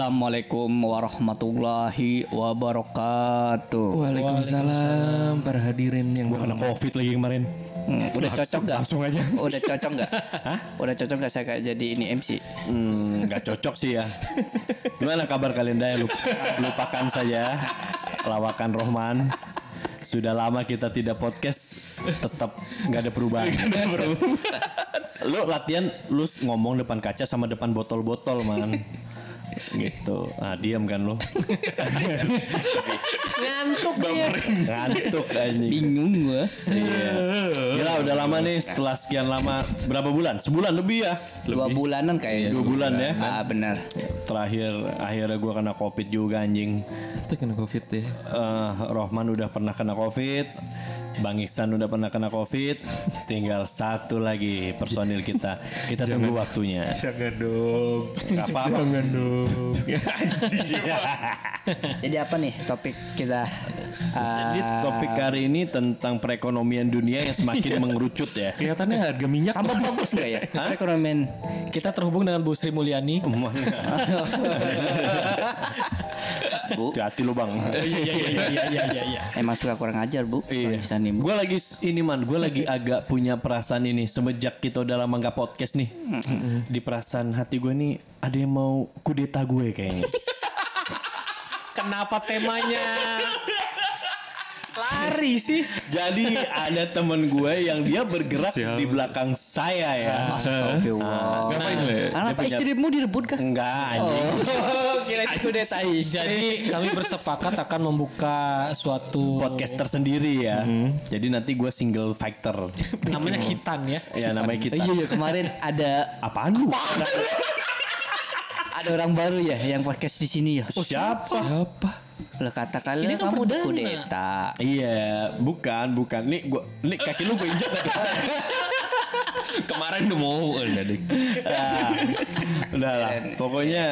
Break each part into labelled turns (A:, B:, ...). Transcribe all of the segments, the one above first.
A: Assalamualaikum warahmatullahi wabarakatuh.
B: Waalaikumsalam para hadirin yang
C: Kena
B: berkenan.
C: covid lagi kemarin.
A: Hmm, udah cocok gak?
C: Langsung aja.
A: Udah cocok gak? Udah cocok gak saya kayak jadi ini MC?
C: Hmm, nggak cocok sih ya. Gimana kabar kalian Day? Lup- Lupakan saja lawakan Rohman. Sudah lama kita tidak podcast, tetap nggak ada perubahan. lu latihan, lu ngomong depan kaca sama depan botol-botol man. gitu. Ah, diam kan lu.
B: Ngantuk ya.
C: Ngantuk anjing.
A: Bingung gua.
C: Iya. Gila udah lama nih setelah sekian lama berapa bulan? Sebulan lebih ya.
A: Dua bulanan kayaknya.
C: Dua bulan ya.
A: Ah benar.
C: Terakhir akhirnya gue kena covid juga anjing.
B: Itu kena covid ya.
C: Eh, Rohman udah pernah kena covid, Bang Iksan udah pernah kena covid. Tinggal satu lagi personil kita. Kita tunggu waktunya.
D: Jangan dong.
C: Gak apa-apa.
D: Jangan dong.
A: Jadi apa nih topik kita?
C: Jadi
A: Ah,
C: Nah, topik hari ini tentang perekonomian dunia yang
D: Iya.
C: semakin mengerucut ya.
D: Kelihatannya harga minyak
A: tambah bagus gak ya? Perekonomian.
D: Kita terhubung dengan Bu Sri Mulyani.
A: Bu,
C: Hati lu bang.
D: Iya iya iya iya iya.
A: emang suka kurang ajar bu.
C: Iya.
A: Bisa nih bu.
C: Gue lagi ini man, gue lagi agak punya perasaan ini semenjak kita udah lama nggak podcast nih. Di perasaan hati gue nih ada yang mau kudeta gue kayaknya.
D: Kenapa temanya? Lari sih.
C: Jadi ada temen gue yang dia bergerak di belakang saya ya. Ah,
A: Astagfirullah.
D: Ngapain lu ya?
A: Anak
C: punya-
A: istrimu direbut kah?
C: Enggak anjing. Oh,
A: Kira itu deta
D: Jadi kami bersepakat akan membuka suatu
C: Podcast tersendiri ya. Jadi nanti gue single factor.
D: namanya Kitan ya.
C: ya namanya kita.
A: Iya iya kemarin ada
C: Apaan lu?
A: ada orang baru ya yang podcast di sini ya.
C: Oh, Siapa?
B: Apa?
A: Lah katakanlah
D: Ini kan
A: kamu
D: perdana.
A: dikudeta.
C: Iya, bukan, bukan. Nih, gua, nih kaki lu gue injek nggak bisa.
B: Kemarin udah mau oh, enggak dik.
C: Nah, udah lah. Pokoknya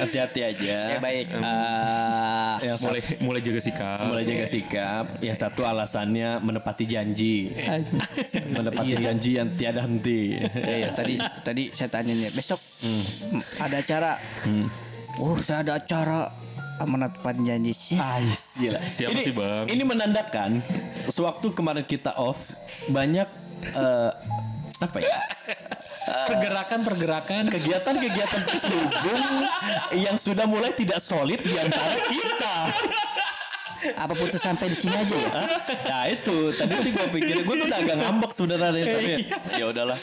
C: hati-hati aja.
A: Ya baik. eh,
C: Ya, mulai
B: Mulai jaga sikap. Eh,
C: mulai jaga sikap. Yang satu alasannya menepati janji. menepati janji yang tiada henti.
A: ya, ya, tadi tadi saya tanya nih besok
C: Hmm.
A: ada acara. Oh saya ada acara menepati janji sih.
C: Ais, gila.
B: Siapa
C: ini,
B: sih, Bang?
C: Ini menandakan sewaktu kemarin kita off banyak eh, apa ya?
D: Pergerakan-pergerakan
C: Kegiatan-kegiatan terselubung yang sudah mulai tidak solid di antara kita.
A: Apa putus sampai di sini aja ya?
C: Hah? Ya itu tadi sih gue pikir gue tuh udah agak ngambek sebenarnya dari tadi.
D: Iya.
C: Ya udahlah.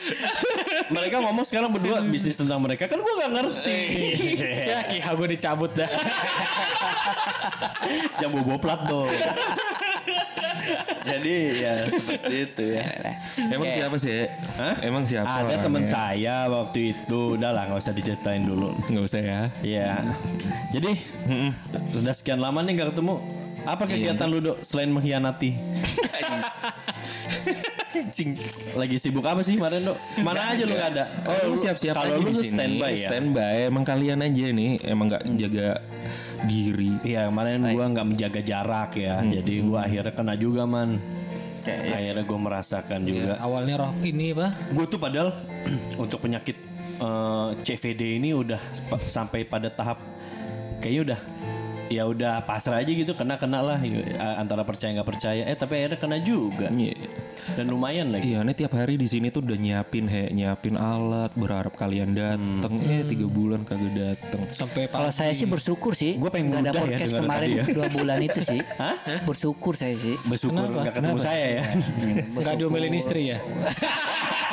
C: Mereka ngomong sekarang berdua bisnis tentang mereka kan gue gak ngerti.
D: ya kiha gue dicabut dah.
C: Jangan bobo plat dong. Jadi ya seperti itu ya.
B: Emang
A: Oke.
B: siapa sih? eh?
C: Hah?
B: Emang siapa? Iya.
C: Ada teman saya waktu itu udahlah nggak usah diceritain dulu.
B: Enggak usah ya.
C: Iya. Jadi sudah sekian lama nih nggak ketemu. Apa
B: Iya.
C: kegiatan lu dok selain mengkhianati? Lagi sibuk apa sih kemarin dok? Mana aja lu nggak ada?
B: Oh,
C: lu-
B: siap-siap
C: Kalau
B: aja
C: lu
B: di sini.
C: standby ya.
B: Standby. Emang kalian aja nih emang nggak jaga diri.
C: Iya kemarin gua nggak menjaga jarak ya,
B: Hmm.
C: jadi gua akhirnya kena juga man.
B: Iya.
C: Akhirnya gua merasakan juga.
D: Awalnya roh ini apa?
C: Gue tuh padahal untuk penyakit eh, CVD ini udah pa- sampai pada tahap kayaknya udah ya udah pasrah aja gitu kena kena lah y- a- antara percaya nggak percaya eh tapi akhirnya kena juga
B: Iya.
C: dan lumayan lagi
B: Iya, ini tiap hari di sini tuh udah nyiapin he, nyiapin alat, berharap kalian dateng.
C: Hmm.
B: Eh, tiga bulan kagak dateng.
D: Sampai
A: Kalau saya sih bersyukur sih.
C: Gua pengen
A: nggak ada
C: meludah ya
A: podcast
C: dengar
A: kemarin
C: tadi ya. Hmm.
A: dua bulan itu sih. Bersyukur saya sih.
C: bersyukur
D: Kenapa?
C: nggak ketemu
D: Kenapa? Iya.
C: saya ya
D: nggak diomelin istri ya.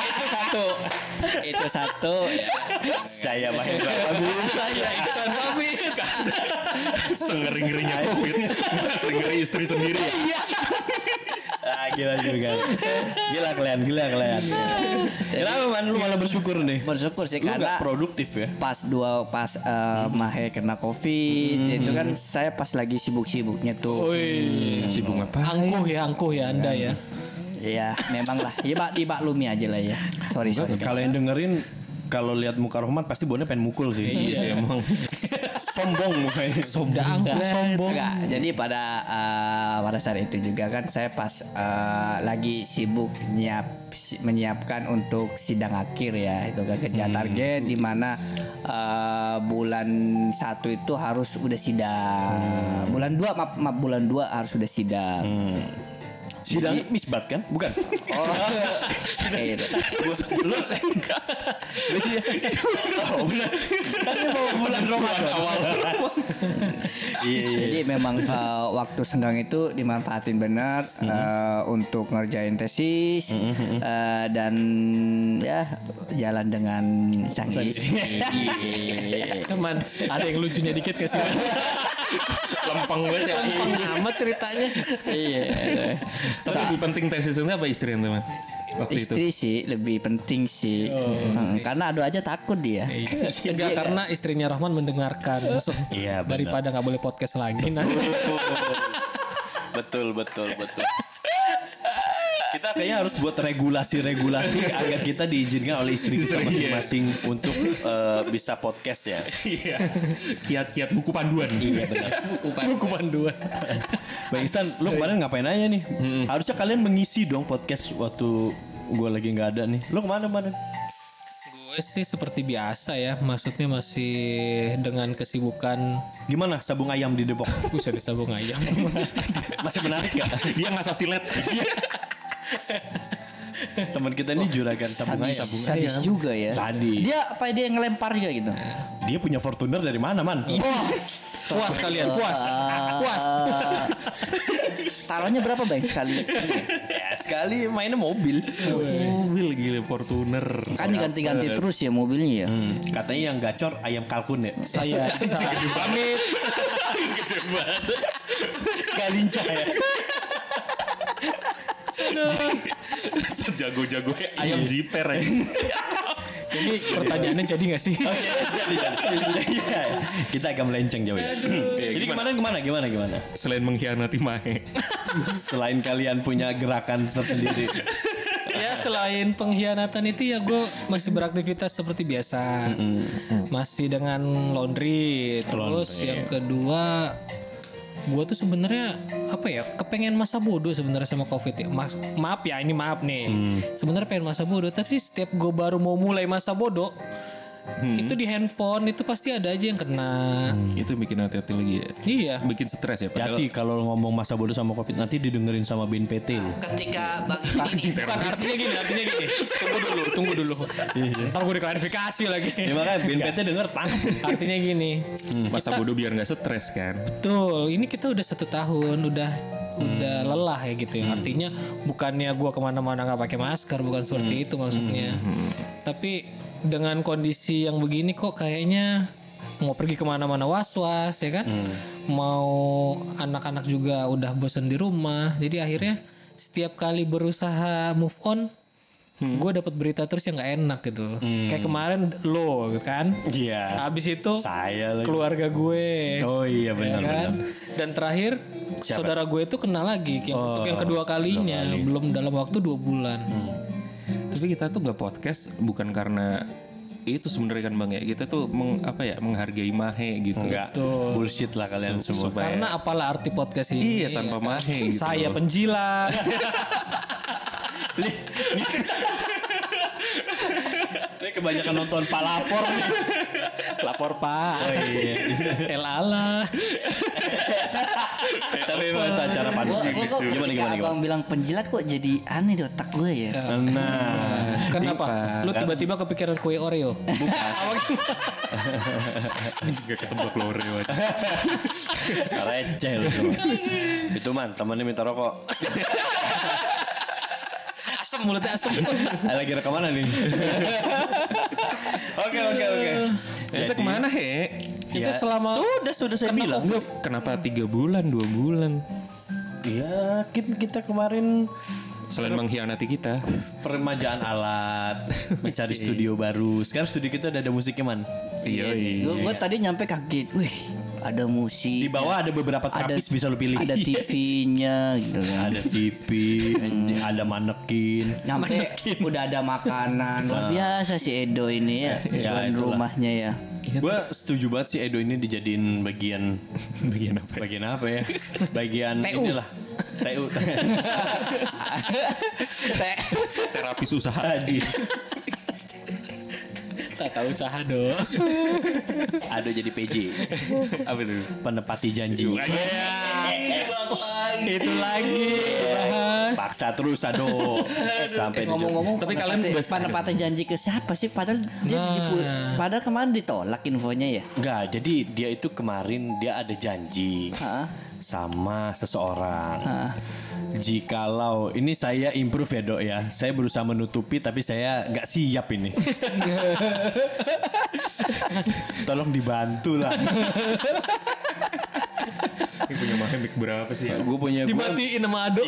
A: itu satu. itu satu. Ya.
C: Iya. saya Mahendra Prabu saya Iksan Hamid
E: Sengering-ngeringnya COVID Sengeri istri sendiri
C: ah, gila juga gila kalian gila kalian
D: Iya.
C: gila man lu malah bersyukur nih
A: Bersyukur sih
C: lu
A: karena
C: nggak produktif ya
A: pas dua pas eh, Mahe kena covid itu kan saya pas lagi sibuk-sibuknya
D: Oh.
A: tuh
D: Woi.
B: Sibuk apa?
D: Angkuh ya, angkuh ya Anda ya.
A: ya memang lah ya mak dimaklumi aja lah ya sorry
C: Nah,
A: sorry
C: Kalau yang dengerin kalau lihat muka Rohman pasti bonnya pengen mukul sih.
B: Iya sih emang.
C: sombong mukanya.
D: Udah angkuh sombong.
A: Enggak, jadi pada eh, pada saat itu juga kan saya pas eh, lagi sibuk nyiap si- menyiapkan untuk sidang akhir ya itu kan kerjaan target di mana eh, bulan satu itu harus udah sidang bulan dua maaf, maaf, bulan dua harus udah sidang
C: Sidangnya misbat kan? Bukan.
A: oh kayak gitu.
C: Lu Jadi oh, benar. Kan ini mau bulan Ramadan awal. Iya iya.
A: Jadi memang eh, waktu senggang itu dimanfaatin benar eh, untuk ngerjain tesis eh, dan ya jalan dengan canggih.
D: Teman, ada yang lucunya dikit gak sih?
E: Lempeng banget ya.
D: Amat ceritanya.
A: Iya.
B: Tapi lebih penting tesisnya apa istri teman? Waktu itu.
A: Istri sih lebih penting sih. Hmm, karena aduh aja takut dia.
D: Eh, iya, Enggak karena istrinya Rahman mendengarkan.
C: Iya, benar.
D: Daripada nggak boleh podcast lagi nanti.
C: betul betul betul. Kita kayaknya harus buat regulasi-regulasi agar kita diizinkan oleh istri kita masing-masing untuk eh, bisa podcast ya.
E: Iya.
B: Kiat-kiat buku panduan.
C: Iya benar.
D: Buku panduan.
C: Bang Iksan, lu kemarin ngapain aja nih? Harusnya kalian mengisi dong podcast waktu gue lagi nggak ada nih. Lu kemana kemarin?
D: Gue sih seperti biasa ya. Maksudnya masih dengan kesibukan
C: Gimana sabung ayam di Depok?
D: bisa disabung ayam.
C: Masih menarik gak?
E: Dia ngasah silet.
C: Teman kita ini juragan sabung
A: Sadis,
C: ayam.
A: sadis juga ya.
C: iya, Sadis.
A: Dia apa dia yang ngelempar juga gitu.
C: Dia punya Fortuner dari mana man?
D: Puas kalian, puas. Puas.
A: Taruhnya Eh, berapa baik sekali?
C: Ya, sekali mainnya mobil.
B: Mobil gila Fortuner. Eh,
A: Kan diganti-ganti terus ya mobilnya ya.
C: Katanya yang gacor ayam kalkun ya.
D: Saya. saya-
C: Galinca ya.
E: Sejago-jago ayam jiper ya.
B: eh.
D: Ini pertanyaannya jadi gak sih?
C: Oke, jadi, jadi. Iya, Kita agak melenceng jauh ya. Jadi kemarin gimana gimana gimana?
B: Selain mengkhianati Mae.
C: Selain kalian punya gerakan tersendiri.
D: ya selain pengkhianatan itu ya gue masih beraktivitas seperti biasa masih dengan laundry terus yang kedua gue tuh sebenarnya apa ya kepengen masa bodoh sebenarnya sama covid ya Mas- maaf ya ini maaf nih sebenarnya pengen masa bodoh tapi setiap gue baru mau mulai masa bodoh itu di handphone itu pasti ada aja yang kena
B: itu bikin hati-hati lagi ya.
D: iya
B: Bikin stres ya. Padahal
C: Hati kalau ngomong masa bodoh sama covid nanti didengerin sama BNPT. lu.
A: Ketika Bang ini
D: Bukan, artinya gini artinya gini tunggu dulu tunggu dulu ntar gue diklarifikasi lagi
C: Ya makanya BNPT denger tangkap.
D: artinya gini
B: masa bodoh biar nggak stres kan.
D: Betul, ini kita udah satu tahun, udah
C: Hmm.
D: udah lelah ya gitu. ya. Artinya bukannya gua kemana-mana nggak pakai masker, bukan seperti
C: Hmm.
D: itu maksudnya. Tapi dengan kondisi yang begini kok kayaknya mau pergi kemana-mana was-was ya kan,
C: Hmm.
D: mau anak-anak juga udah bosen di rumah. Jadi akhirnya setiap kali berusaha move on,
C: Hmm.
D: gue dapat berita terus yang nggak enak gitu. Kayak kemarin lo kan,
C: Iya.
D: habis itu
C: Saya lagi.
D: keluarga gue
C: Oh iya benar
D: ya kan? Dan terakhir saudara gue itu kena lagi yang untuk yang kedua kalinya belum dalam waktu dua bulan.
B: Tapi kita tuh nggak podcast bukan karena itu sebenarnya kan bang ya kita tuh meng- apa ya menghargai Mahe gitu.
C: Enggak. Bullshit lah kalian semua.
B: Supaya
D: Karena apalah arti podcast ini?
B: Iya tanpa Mahe gitu.
D: Saya
B: loh.
D: penjilat.
C: Ini kebanyakan nonton Pak Lapor nih. Lapor Pak. Oh iya.
D: Elala.
C: Tapi emang itu acara
A: Gua,
C: pandemi.
A: gua kok
C: Gimana
A: ketika
C: gimana gimana.
A: abang bilang penjilat kok jadi aneh di otak gue ya.
C: Nah,
D: Kenapa? Kan Lu tiba-tiba kepikiran kue Oreo.
E: Juga ketebak loh Reo.
C: receh lu semua. Itu man, temennya minta rokok.
D: Asam mulutnya asam.
A: Iya,
C: Ah, Lagi rekaman nih. Oke oke oke.
B: Kita kemana he?
D: Itu selama
C: Ya, Sudah sudah saya bilang.
B: Lu Kenapa tiga bulan dua bulan?
C: Iya, kita, kita kemarin
B: Selain mengkhianati kita.
C: peremajaan alat, mencari studio baru. Sekarang studio kita udah ada musiknya man.
B: Iya.
A: Gue gue tadi nyampe kaget. Wih, ada musik.
C: Di bawah Iya. ada beberapa terapis bisa lu pilih.
A: Ada TV-nya gitu kan.
C: ada TV, ada manekin.
A: Nyampe udah ada makanan. Luar biasa si Edo ini Ah. ya.
C: Ya,
A: Tuan
C: itulah.
A: rumahnya ya.
C: Gue setuju banget sih Edo ini dijadiin bagian bagian apa? Bagian apa ya? Bagian
A: TU.
C: inilah. TU.
A: Teh.
E: terapis usaha
D: Tata usaha dong.
C: Ado jadi PJ.
E: apa itu
C: Penepati janji. Itu lagi. Paksa terus Ado. Sampai
A: Eh,
C: di
A: ngomong-ngomong
E: Tapi kalian
A: penepati-
E: best-
A: penepati janji ke siapa sih padahal dia
D: Nah.
A: dipu- padahal kemarin ditolak infonya ya
C: Enggak, jadi dia itu kemarin dia ada janji
A: Heeh.
C: sama seseorang. Jikalau ini saya improve ya dok ya, saya berusaha menutupi tapi saya nggak siap ini. Tolong dibantu lah.
E: Ini punya mahal mic berapa sih
B: Eh,
E: ya?
C: gue punya gua-
D: Dimatiin sama Ado.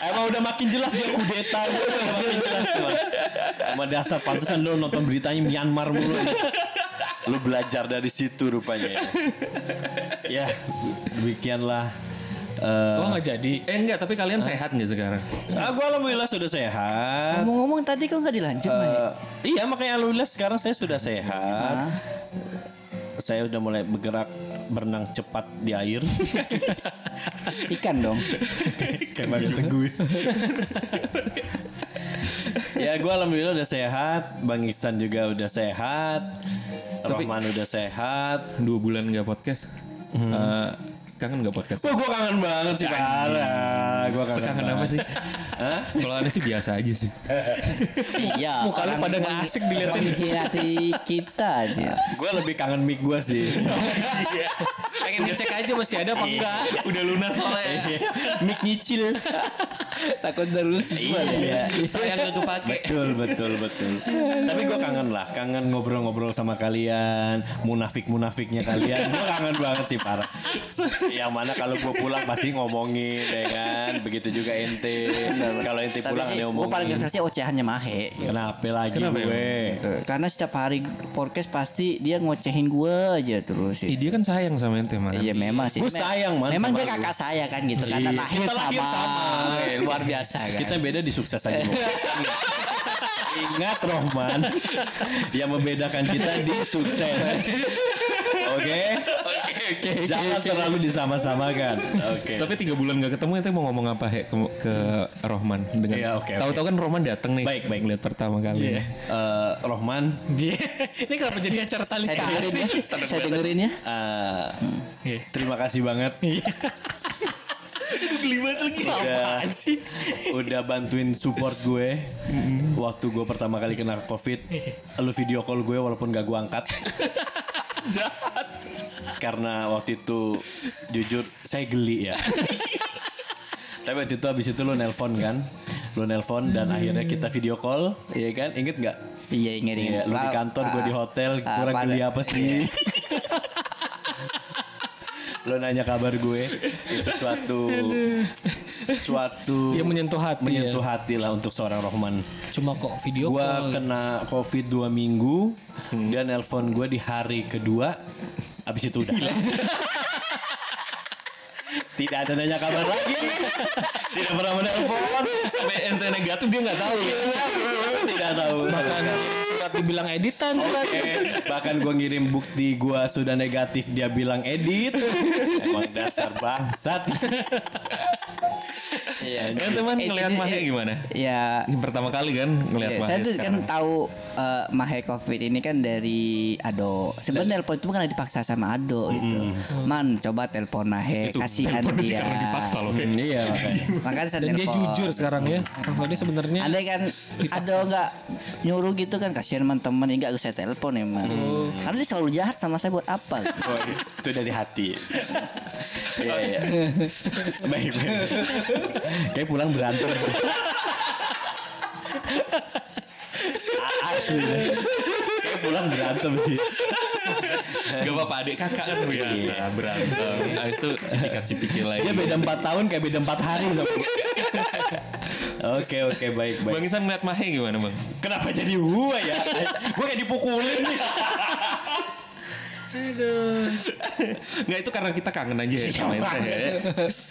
C: emang udah makin jelas dia kudeta, gua udah makin jelas. lah. Sama dasar pantesan lo nonton beritanya Myanmar mulu. ya. Lo belajar dari situ rupanya. Ya, ya demikianlah. eh,
D: Gua nggak jadi.
E: eh enggak tapi kalian sehat nggak sekarang
C: Ah, gue alhamdulillah sudah sehat.
A: ngomong-ngomong tadi kok nggak dilanjut Mai?
C: Eh, iya makanya alhamdulillah sekarang saya sudah
A: Ah.
C: sehat. Saya udah mulai bergerak berenang cepat di air.
A: ikan dong
C: Kayak Bang Teguh. ya gue alhamdulillah udah sehat. Bang Iksan juga udah sehat.
B: Tapi-
C: Rahman udah sehat.
B: Dua bulan nggak podcast. Eh, kangen nggak podcast?
C: Wah gue kangen banget sih parah. Gue kangen.
B: Sekangen
C: banget.
B: apa sih? Kalau ada sih biasa aja sih.
A: iya
D: Muka lu
A: orang
D: pada nggak
A: menghi-
D: asik diliatin.
A: menghilati kita aja
C: Gue lebih kangen mic gue sih.
D: Pengen ngecek aja masih ada apa enggak.
E: udah lunas soalnya
C: Iya. mic nyicil.
A: takut terus
C: Iya.
A: saya nggak kepake
C: Betul, betul, betul. Tapi gue kangen lah, kangen ngobrol-ngobrol sama kalian, munafik-munafiknya kalian. Gue kangen banget sih parah. Yang mana kalau gue pulang pasti ngomongin, ya kan? Begitu juga ente. Kalau ente
A: tapi
C: pulang
A: sih
C: ada
A: gue paling
C: ngomongin.
A: kesel sih ocehannya Mahe
C: Kenapa lagi gue?
A: karena setiap hari podcast pasti dia ngocehin gue aja terus
B: Ih, dia kan sayang sama ente mana?
A: Iya memang sih.
C: Iya. Gua sayang, Man,
A: Memang
C: sama
A: dia
C: lu.
A: kakak saya kan gitu kan.
C: Iya.
A: Lahir
C: Kita lahir
A: sama.
C: sama.
A: Eh, Luar biasa kan.
C: Kita beda di sukses aja. Bro. Ingat Rohman, yang membedakan kita di sukses. Oke, jangan terlalu disama-samakan. Oke.
B: Tapi tiga bulan nggak ketemu ente mau ngomong apa he ke, ke Rohman dengan
C: Iya, oke, oke.
B: tahu-tahu kan Rohman datang nih
C: Baik, baik.
B: lihat pertama kali
D: Iya.
C: Eh, Rohman,
D: Dia. Iya. Ini kenapa jadi acara tali
A: saya dengerin
D: kasih?
A: ya. Saya dengerin ya.
C: eh,
D: Iya.
C: terima kasih banget
D: Beli banget lagi. Apaan sih?
C: udah bantuin support gue waktu gue pertama kali kena covid. Lu video call gue walaupun gak gue angkat. Karena waktu itu jujur saya geli ya. Tapi waktu itu habis itu lo nelpon kan, lo nelpon dan akhirnya kita video call, iya kan? Ingat nggak?
A: Iya ingat ingat.
C: Iya, lo di kantor, gue di hotel,
A: ah, Iya.
C: kurang
A: pada-
C: geli apa sih? lo nanya kabar gue itu suatu suatu
D: Dia menyentuh hati
C: menyentuh
D: ya.
C: hati lah untuk seorang Rohman.
D: Cuma kok video
C: Gua
D: call.
C: kena covid dua minggu, dia nelpon gue di hari kedua, abis itu udah. Tidak ada nanya kabar lagi, tidak pernah menelpon,
B: sampai ente negatif dia nggak tahu ya
C: tidak tahu.
D: Bahkan surat dibilang editan surat.
C: Eh, bahkan gue ngirim bukti gue sudah negatif dia bilang edit emang dasar bangsat
A: Iya.
B: ente
C: Kan
B: man
A: Eh, eh,
B: ngelihat Mahe
A: eh,
B: gimana
A: Ya.
B: Yang pertama kali kan ngelihat
A: Iya,
B: Mahe
A: saya tuh kan
B: sekarang.
A: tahu eh, Mahe Covid ini kan dari Ado. Sebenarnya telepon itu karena dipaksa sama Ado gitu. Man, coba telepon Mahe, kasihan
E: Teleponnya
A: dia.
E: karena dipaksa loh
C: Hmm, iya makanya
A: Makanya saya
D: Dan dia
A: telepon.
D: jujur sekarang ya. Kalau dia sebenarnya
A: Andai kan ada nggak nyuruh gitu kan kasihan teman teman nggak usah telepon emang.
D: Oh.
A: Karena dia selalu jahat sama saya buat apa? gitu.
C: Oh, itu dari hati iya iya baik baik kayak pulang berantem A- asli gitu. kayak pulang berantem sih
B: Gak apa-apa adik kakak kan biasa
E: Iya, berantem
B: Nah, itu cipikat cipikil lagi
C: dia beda 4 tahun kayak beda 4 hari sama gue. oke oke baik baik
B: Bang Isan ngeliat Mahe gimana bang?
C: Kenapa jadi gua ya? gua kayak dipukulin nih.
E: Nggak itu karena kita kangen aja ya sama ente ya.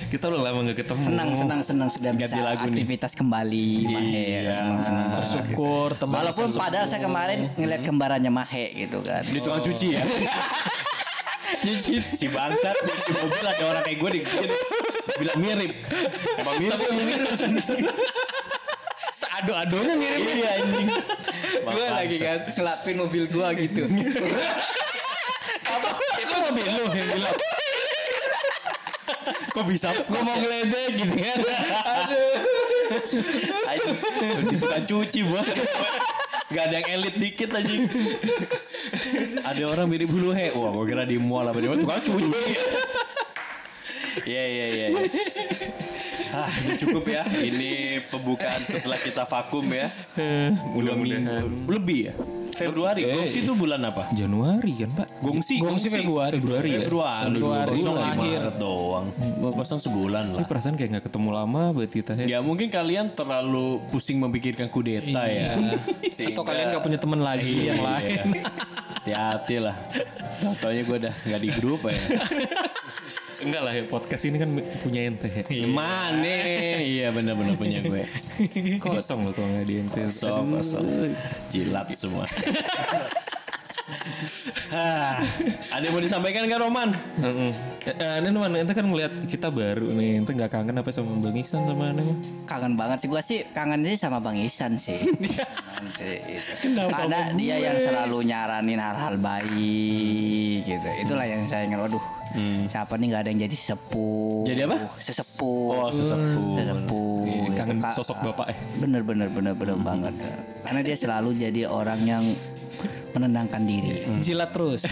E: Kita udah lama nggak ketemu.
A: Senang senang senang sudah
C: Ganti
A: bisa
C: lagu nih.
A: aktivitas kembali
C: Iya,
A: Maher senang senang.
C: bersyukur teman
A: Walaupun padahal saya kemarin ngeliat kembarannya Mahe gitu kan.
C: di tukang cuci ya cuci si bangsat di mobil ada orang kayak gue di bilang mirip emang mirip
E: Iya,
C: seado adonya mirip iya anjing
A: Gue lagi kan ngelapin mobil gue gitu.
C: itu mobil lu yang bilang kok bisa gue mau ngeledek gitu kan aduh di tukang cuci bos Gak ada yang elit dikit anjing Ada orang mirip bulu he Wah gue kira di mall apa di mana Tukang cuci Iya iya iya iya. Ah, ini cukup ya. Ini pembukaan setelah kita vakum ya. Dua minggu lebih ya. Februari.
B: Eh.
C: Gongsi itu bulan apa?
B: Januari kan Pak?
C: Gongsi,
D: Gongsi Februari.
C: Februari,
B: ya?
C: Februari,
B: Tanggal
D: Februari,
B: 22.
D: Kosong
C: Kosong
D: akhir.
C: Maret doang. Kosong sebulan lah.
B: Ini perasaan kayak nggak ketemu lama buat kita ya.
C: Ya
D: Eh.
C: mungkin kalian terlalu pusing memikirkan kudeta ya. Sehingga-
D: Atau kalian gak punya teman lagi yang lain.
C: Iya. Hati-hati lah. Contohnya gue dah nggak di grup
D: Iya.
C: ya.
E: Enggak lah ya podcast ini kan punya ente. ya.
C: Mane. Iya bener-bener punya gue.
E: Kosong loh kalau nggak di ente.
C: Sob, sob. Jilat semua. Ah, ada yang mau disampaikan kan Roman?
E: Heeh. Eh, eh, Nen, Man, ente kan ngeliat kita baru nih. Ente nggak kangen apa sama Bang Ihsan sama Ane?
A: kangen banget sih gue sih kangen sih sama Bang Isan sih. Kangen sih, gitu. Karena dia yang selalu nyaranin hal-hal baik gitu. Itulah yang saya ingin. Waduh, siapa nih nggak ada yang jadi sepuh?
C: Hmm. Jadi apa?
A: Sesepuh.
C: Oh sesepuh.
A: sesepuh.
E: Iya,
A: gitu.
E: kangen
A: Ka-
E: sosok bapak eh.
A: Bener bener bener bener banget. Karena dia selalu jadi orang yang menenangkan diri.
C: Hmm.
D: Jilat terus.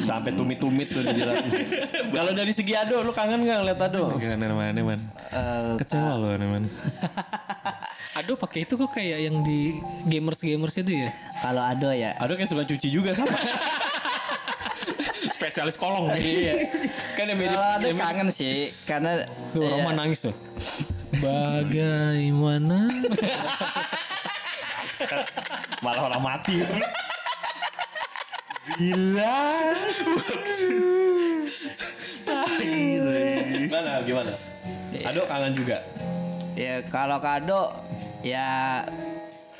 C: Sampai tumit-tumit tuh dijilat. Kalau dari segi Ado, lu kangen nggak ngeliat Ado?
E: Kangen sama Ane man.
A: Eh,
E: Kecewa loh Ane man.
D: Aduh pakai itu kok kayak yang di gamers gamers itu ya.
A: kalau ada ya
C: Ado kayak tukang cuci juga sama.
E: Spesialis kolong nih.
C: iya. Kan yang mirip.
A: kalau ada kangen sih karena
D: Tuh
A: iya.
D: Roman nangis tuh. Bagaimana?
C: Malah orang mati. Gila. gitu ya. Gimana? Gimana? Ado kangen juga.
A: Ya kalau kado ya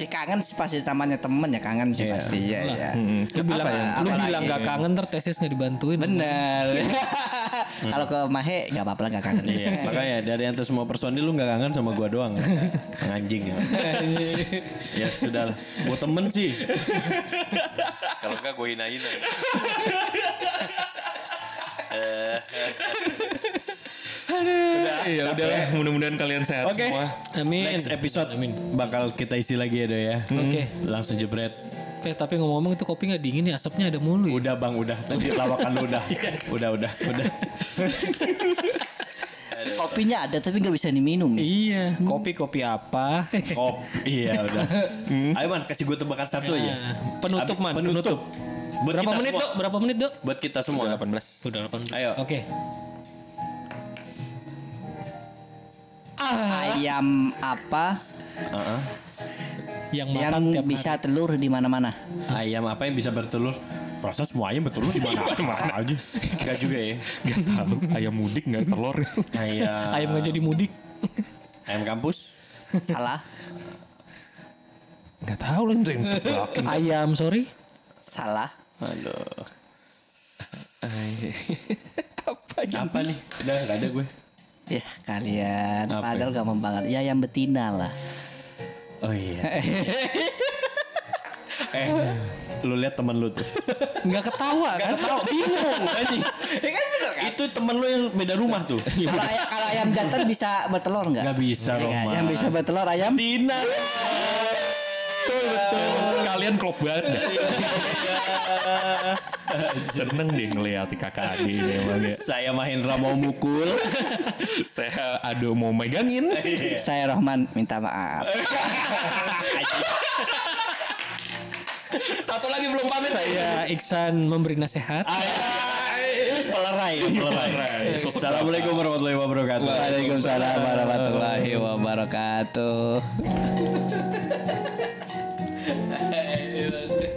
A: ya kangen sih pasti namanya temen ya kangen sih pasti ya ya.
D: Iya. Hmm, lu bilang
A: Apa ya?
D: lu
A: Apalagi?
D: bilang gak kangen ter tesis nggak dibantuin.
A: Bener.
D: Hmm.
A: kalau ke Mahe nggak apa-apa lah nggak kangen.
C: Iya, makanya dari antar semua personil lu nggak kangen sama gua doang. ya. Anjing ya. ya sudah lah. Gua temen sih. Kalau enggak gua hinain aja.
E: Ya udah lah, mudah-mudahan kalian sehat
C: Oke.
E: semua.
D: Amin.
C: Next episode
D: Amin.
C: bakal kita isi lagi ya, Do ya.
D: Oke.
C: Langsung jebret.
D: Eh tapi ngomong-ngomong itu kopi nggak dingin ya asapnya ada mulu ya.
C: Udah bang, udah. Udah lawakan lu udah. Udah, udah, udah.
A: Kopinya ada tapi nggak bisa diminum.
D: Iya. Eh, Kopi kopi apa?
C: Kop. Iya, udah. Ayo man, kasih gue tebakan satu aja.
D: Nah, penutup
C: Abis-
D: man.
C: Penutup. Buat
D: Berapa
C: kita
D: menit
C: semua.
D: dok? Berapa menit dok?
C: Buat kita semua.
E: Udah 18.
D: Udah 8
C: Ayo.
D: Oke. Ah,
A: Ayam apa
C: Heeh.
D: yang
A: yang
D: makan tiap
A: bisa telur di mana-mana?
C: Ayam apa yang bisa bertelur? Perasaan semua ayam bertelur di mana? mana aja. Enggak juga ya.
E: Gak tahu ayam mudik nggak telur.
C: Ayam.
D: hari. ayam nggak jadi mudik.
C: Ayam kampus.
A: Salah,
E: Gak tahu lah itu yang tebakin.
D: Ayam sorry.
A: salah.
C: Aduh.
E: Apa aja?
C: Apa nih? Udah enggak ada gue.
A: Ya kalian,
C: Apa
A: padahal gampang banget. Ya yang betina lah.
C: Oh iya. eh, lu lihat temen lu tuh.
D: Nggak ketawa kan?
C: Tahu Oh, bingung Ya kan anjing. Itu temen lu yang beda rumah tuh.
A: Kalau ayam, kalau ayam jantan bisa bertelur nggak?
C: Nggak bisa,
A: Iya nggak?
C: Roman.
A: Yang bisa bertelur ayam?
C: Tina. Betul betul.
E: Kalian klop banget. dah. Seneng deh ngeliat kakak Ade ini emang ya.
C: Saya Mahendra mau mukul.
E: Saya ado mau megangin.
D: Iya.
A: Saya Rohman minta maaf.
E: Satu lagi belum pamit.
D: Saya Ya, Iksan memberi nasihat.
C: Pelerai, pelerai.
E: Sosok
C: Assalamualaikum warahmatullahi wabarakatuh.
A: Waalaikumsalam warahmatullahi wabarakatuh.